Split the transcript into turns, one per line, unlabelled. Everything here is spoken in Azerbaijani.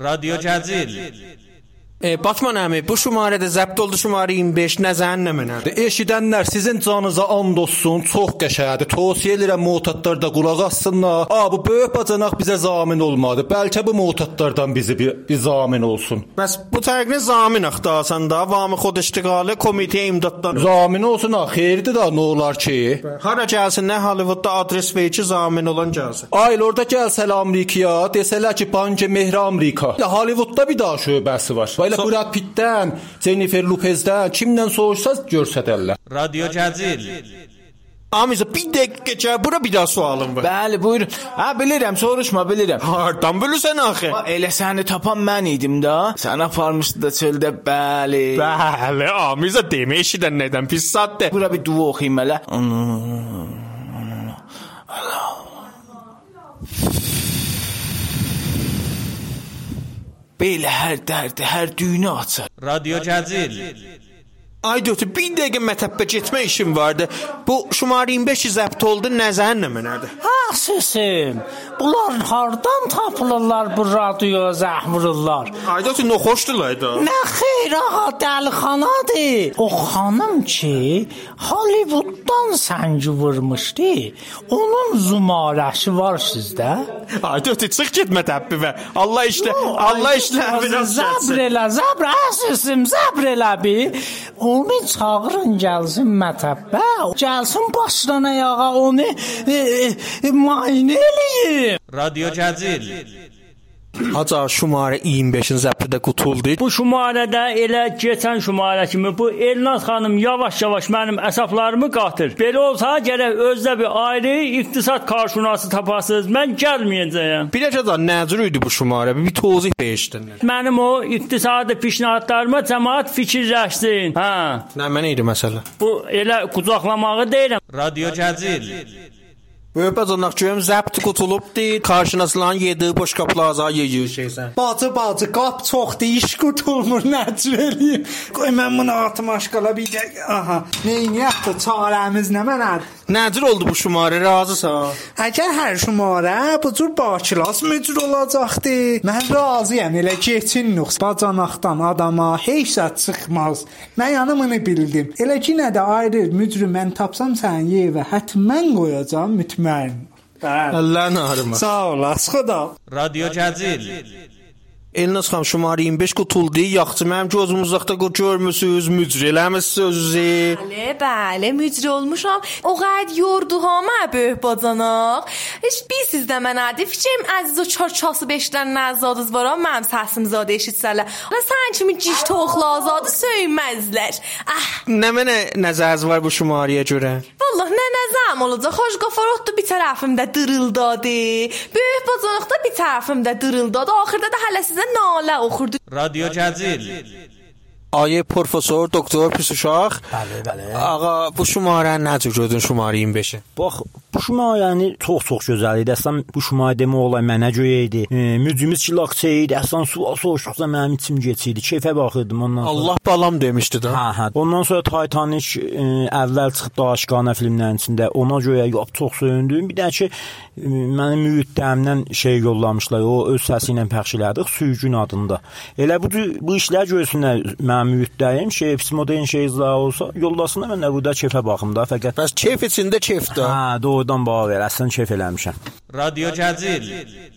رادیو جزیل
E, Batman əmi, bu şumarədə zəbt oldu şumarə 25, nə zəhənnəmə nədir?
Eşidənlər sizin canınıza and olsun, çox qəşəngdir. Tövsiyə edirəm motatlar da qulaq assınlar. A bu böyük bacanaq bizə zamin olmadı. Bəlkə bu motatlardan bizi bir, bir zamin olsun.
Bəs bu tərəqinə zamin axtarsan da, vamı xod iştiqalı komitə imdaddan.
Zamin olsun ha, xeyirdir da nə olar ki?
Hara gəlsin, nə Hollywoodda adres verici zamin olan gəlsin.
Ayl orada gəlsələ Amerikaya, desələr ki, Banca Mehri Amerika. Ya Hollywoodda bir daha şöbəsi var. Belə Brad Pittdən, Jennifer Lopezdən kimdən soruşsaz görsədərlər.
رادیو جزیل
Amiza, bir dəqiqə gəl, bura bir daha sualım var.
Bəli, buyurun. Hə, bilirəm, soruşma, bilirəm.
Hardan bilirsən axı?
Ha, Elə səni tapan mən idim də. Sən aparmışdın da çöldə, bəli.
Bəli, Amiza demə eşidən nədən pis satdı.
Bura bir dua oxuyum elə. Belə hər dərdi, hər düyünü açar.
رادیو جزیل
Ay dötü, bir dəqiqə mətəbbə getmə işim vardı. Bu şumarə 25 zəbt oldu, nə zəhənnəmə nədir?
Ah sesim. Bunlar hardan tapılırlar bu radioya zəhvururlar?
Ay dötü, nə xoşdular da.
Nə xeyr ağa dəlixanadır. O xanım ki, Hollywooddan səngi vurmuşdu. Onun zumarəşi var sizdə?
Ay dötü, çıx get mətəbbə. Allah işlə,
Oh,
Allah işlə. biraz
Zəbr
gəlsin.
elə, zəbr ah, sesim, zəbr elə bi. Onu çağırın gəlsin mətəbbə. Gəlsin başdan ayağa onu e, e, e, mayinə eləyin.
رادیو جزیل
Haca şumarə 25-in zəbti də qutuldu.
Bu şumarədə elə keçən şumarə kimi bu Elnaz xanım yavaş-yavaş mənim əsəblarımı qatır. Belə olsa gərək özdə bir ayrı iqtisad qarşınası tapasınız. Mən gəlməyəcəyəm.
Biləcə də nəcür idi bu şumarə? Bir tozih beşdinlər.
Mənim o iqtisadi pişnahatlarıma cəmaət fikirləşsin. Hə,
Nə mənə idi məsələ?
bu elə qucaqlamağı deyirəm.
رادیو جزیل
Böybəcanaq görüm zəbt qutulubdu. Qarşınasılan yedi boş qapılaza yeyir şeysən.
Bacı bacı qap çoxdur, iş qurtulmur, nəcür eləyim. Qoy mən bunu atım aşqala bir dəqiqə. Aha. Neyniyyətdir, çarəmiz nə mənədir?
Nəcür oldu bu şumarə? Razısan?
Əgər hər şumarə bu cür bakilas mücür olacaqdı. Mən razıyam, elə keçin nüqs bacanaqdan adama heç zət çıxmaz. Mən yanımını bildim. Elə ki nə də ayrı mücrü mən tapsam sənin yevə hətmən qoyacam mütməyin. Bəli.
Allah narıma.
Sağ olas xuda.
رادیو جزیل
Elnaz xan şumarə 25 qutuldu. Yaxşı, mənim gözüm uzaqda qo- görmüsüz, mücr eləmisiniz özünüzü.
Bəli, bəli, mücri olmuşam. O qədər yorduğuma böyük bacanaq. Heç bilsiz də mən adi fikrim əziz o çarçası beşdən nəzadız var, amma mənim səsim zadə eşitsələr. Ala sən kimi ciş toxla azadı söyməzlər. Ah,
Nə mənə nəzəriniz var bu şumarəyə görə?
vallah nə nəzam olacaq. Xoş qafarotdu bir tərəfimdə dırıldadı. Böyük bacanaq da bir tərəfimdə dırıldadı. Axırda da hələ sizə nalə oxurdu.
رادیو جزیل
Ayə professor doktor Pisuşaq.
Bəli, bəli.
Ağa bu şumarə nəcür gördün şumarə 25-i?
Bax, bu şumayəni çox-çox gözəl idi. Əslən bu şumay demək olar mənə görə idi. E, mücümüz çilaqçı idi. Əslən sual soruşduqca mənim içim keçirdi. Keyfə baxırdım ondan sonra.
Allah balam demişdi də.
Hə, hə. Ondan sonra Titanic ə, əvvəl çıxdı aşqana filmlərin içində. Ona görə yap çox söyündüm. Bir də ki, ə, mənim müyüddəmdən şey yollamışlar. O öz səsi ilə pəxş elədik, Sürgün adında. Elə bu bu işlər görsünlər mənim müyüddəyim. Şey Psimoden şey izah olsa, yollasınlar mən də burada kefə baxım da.
Hə,
Fəqət
Bəs keyf içində keyfdir.
Hə, doğrudan bağa verəsən kef eləmişəm.
رادیو جزیل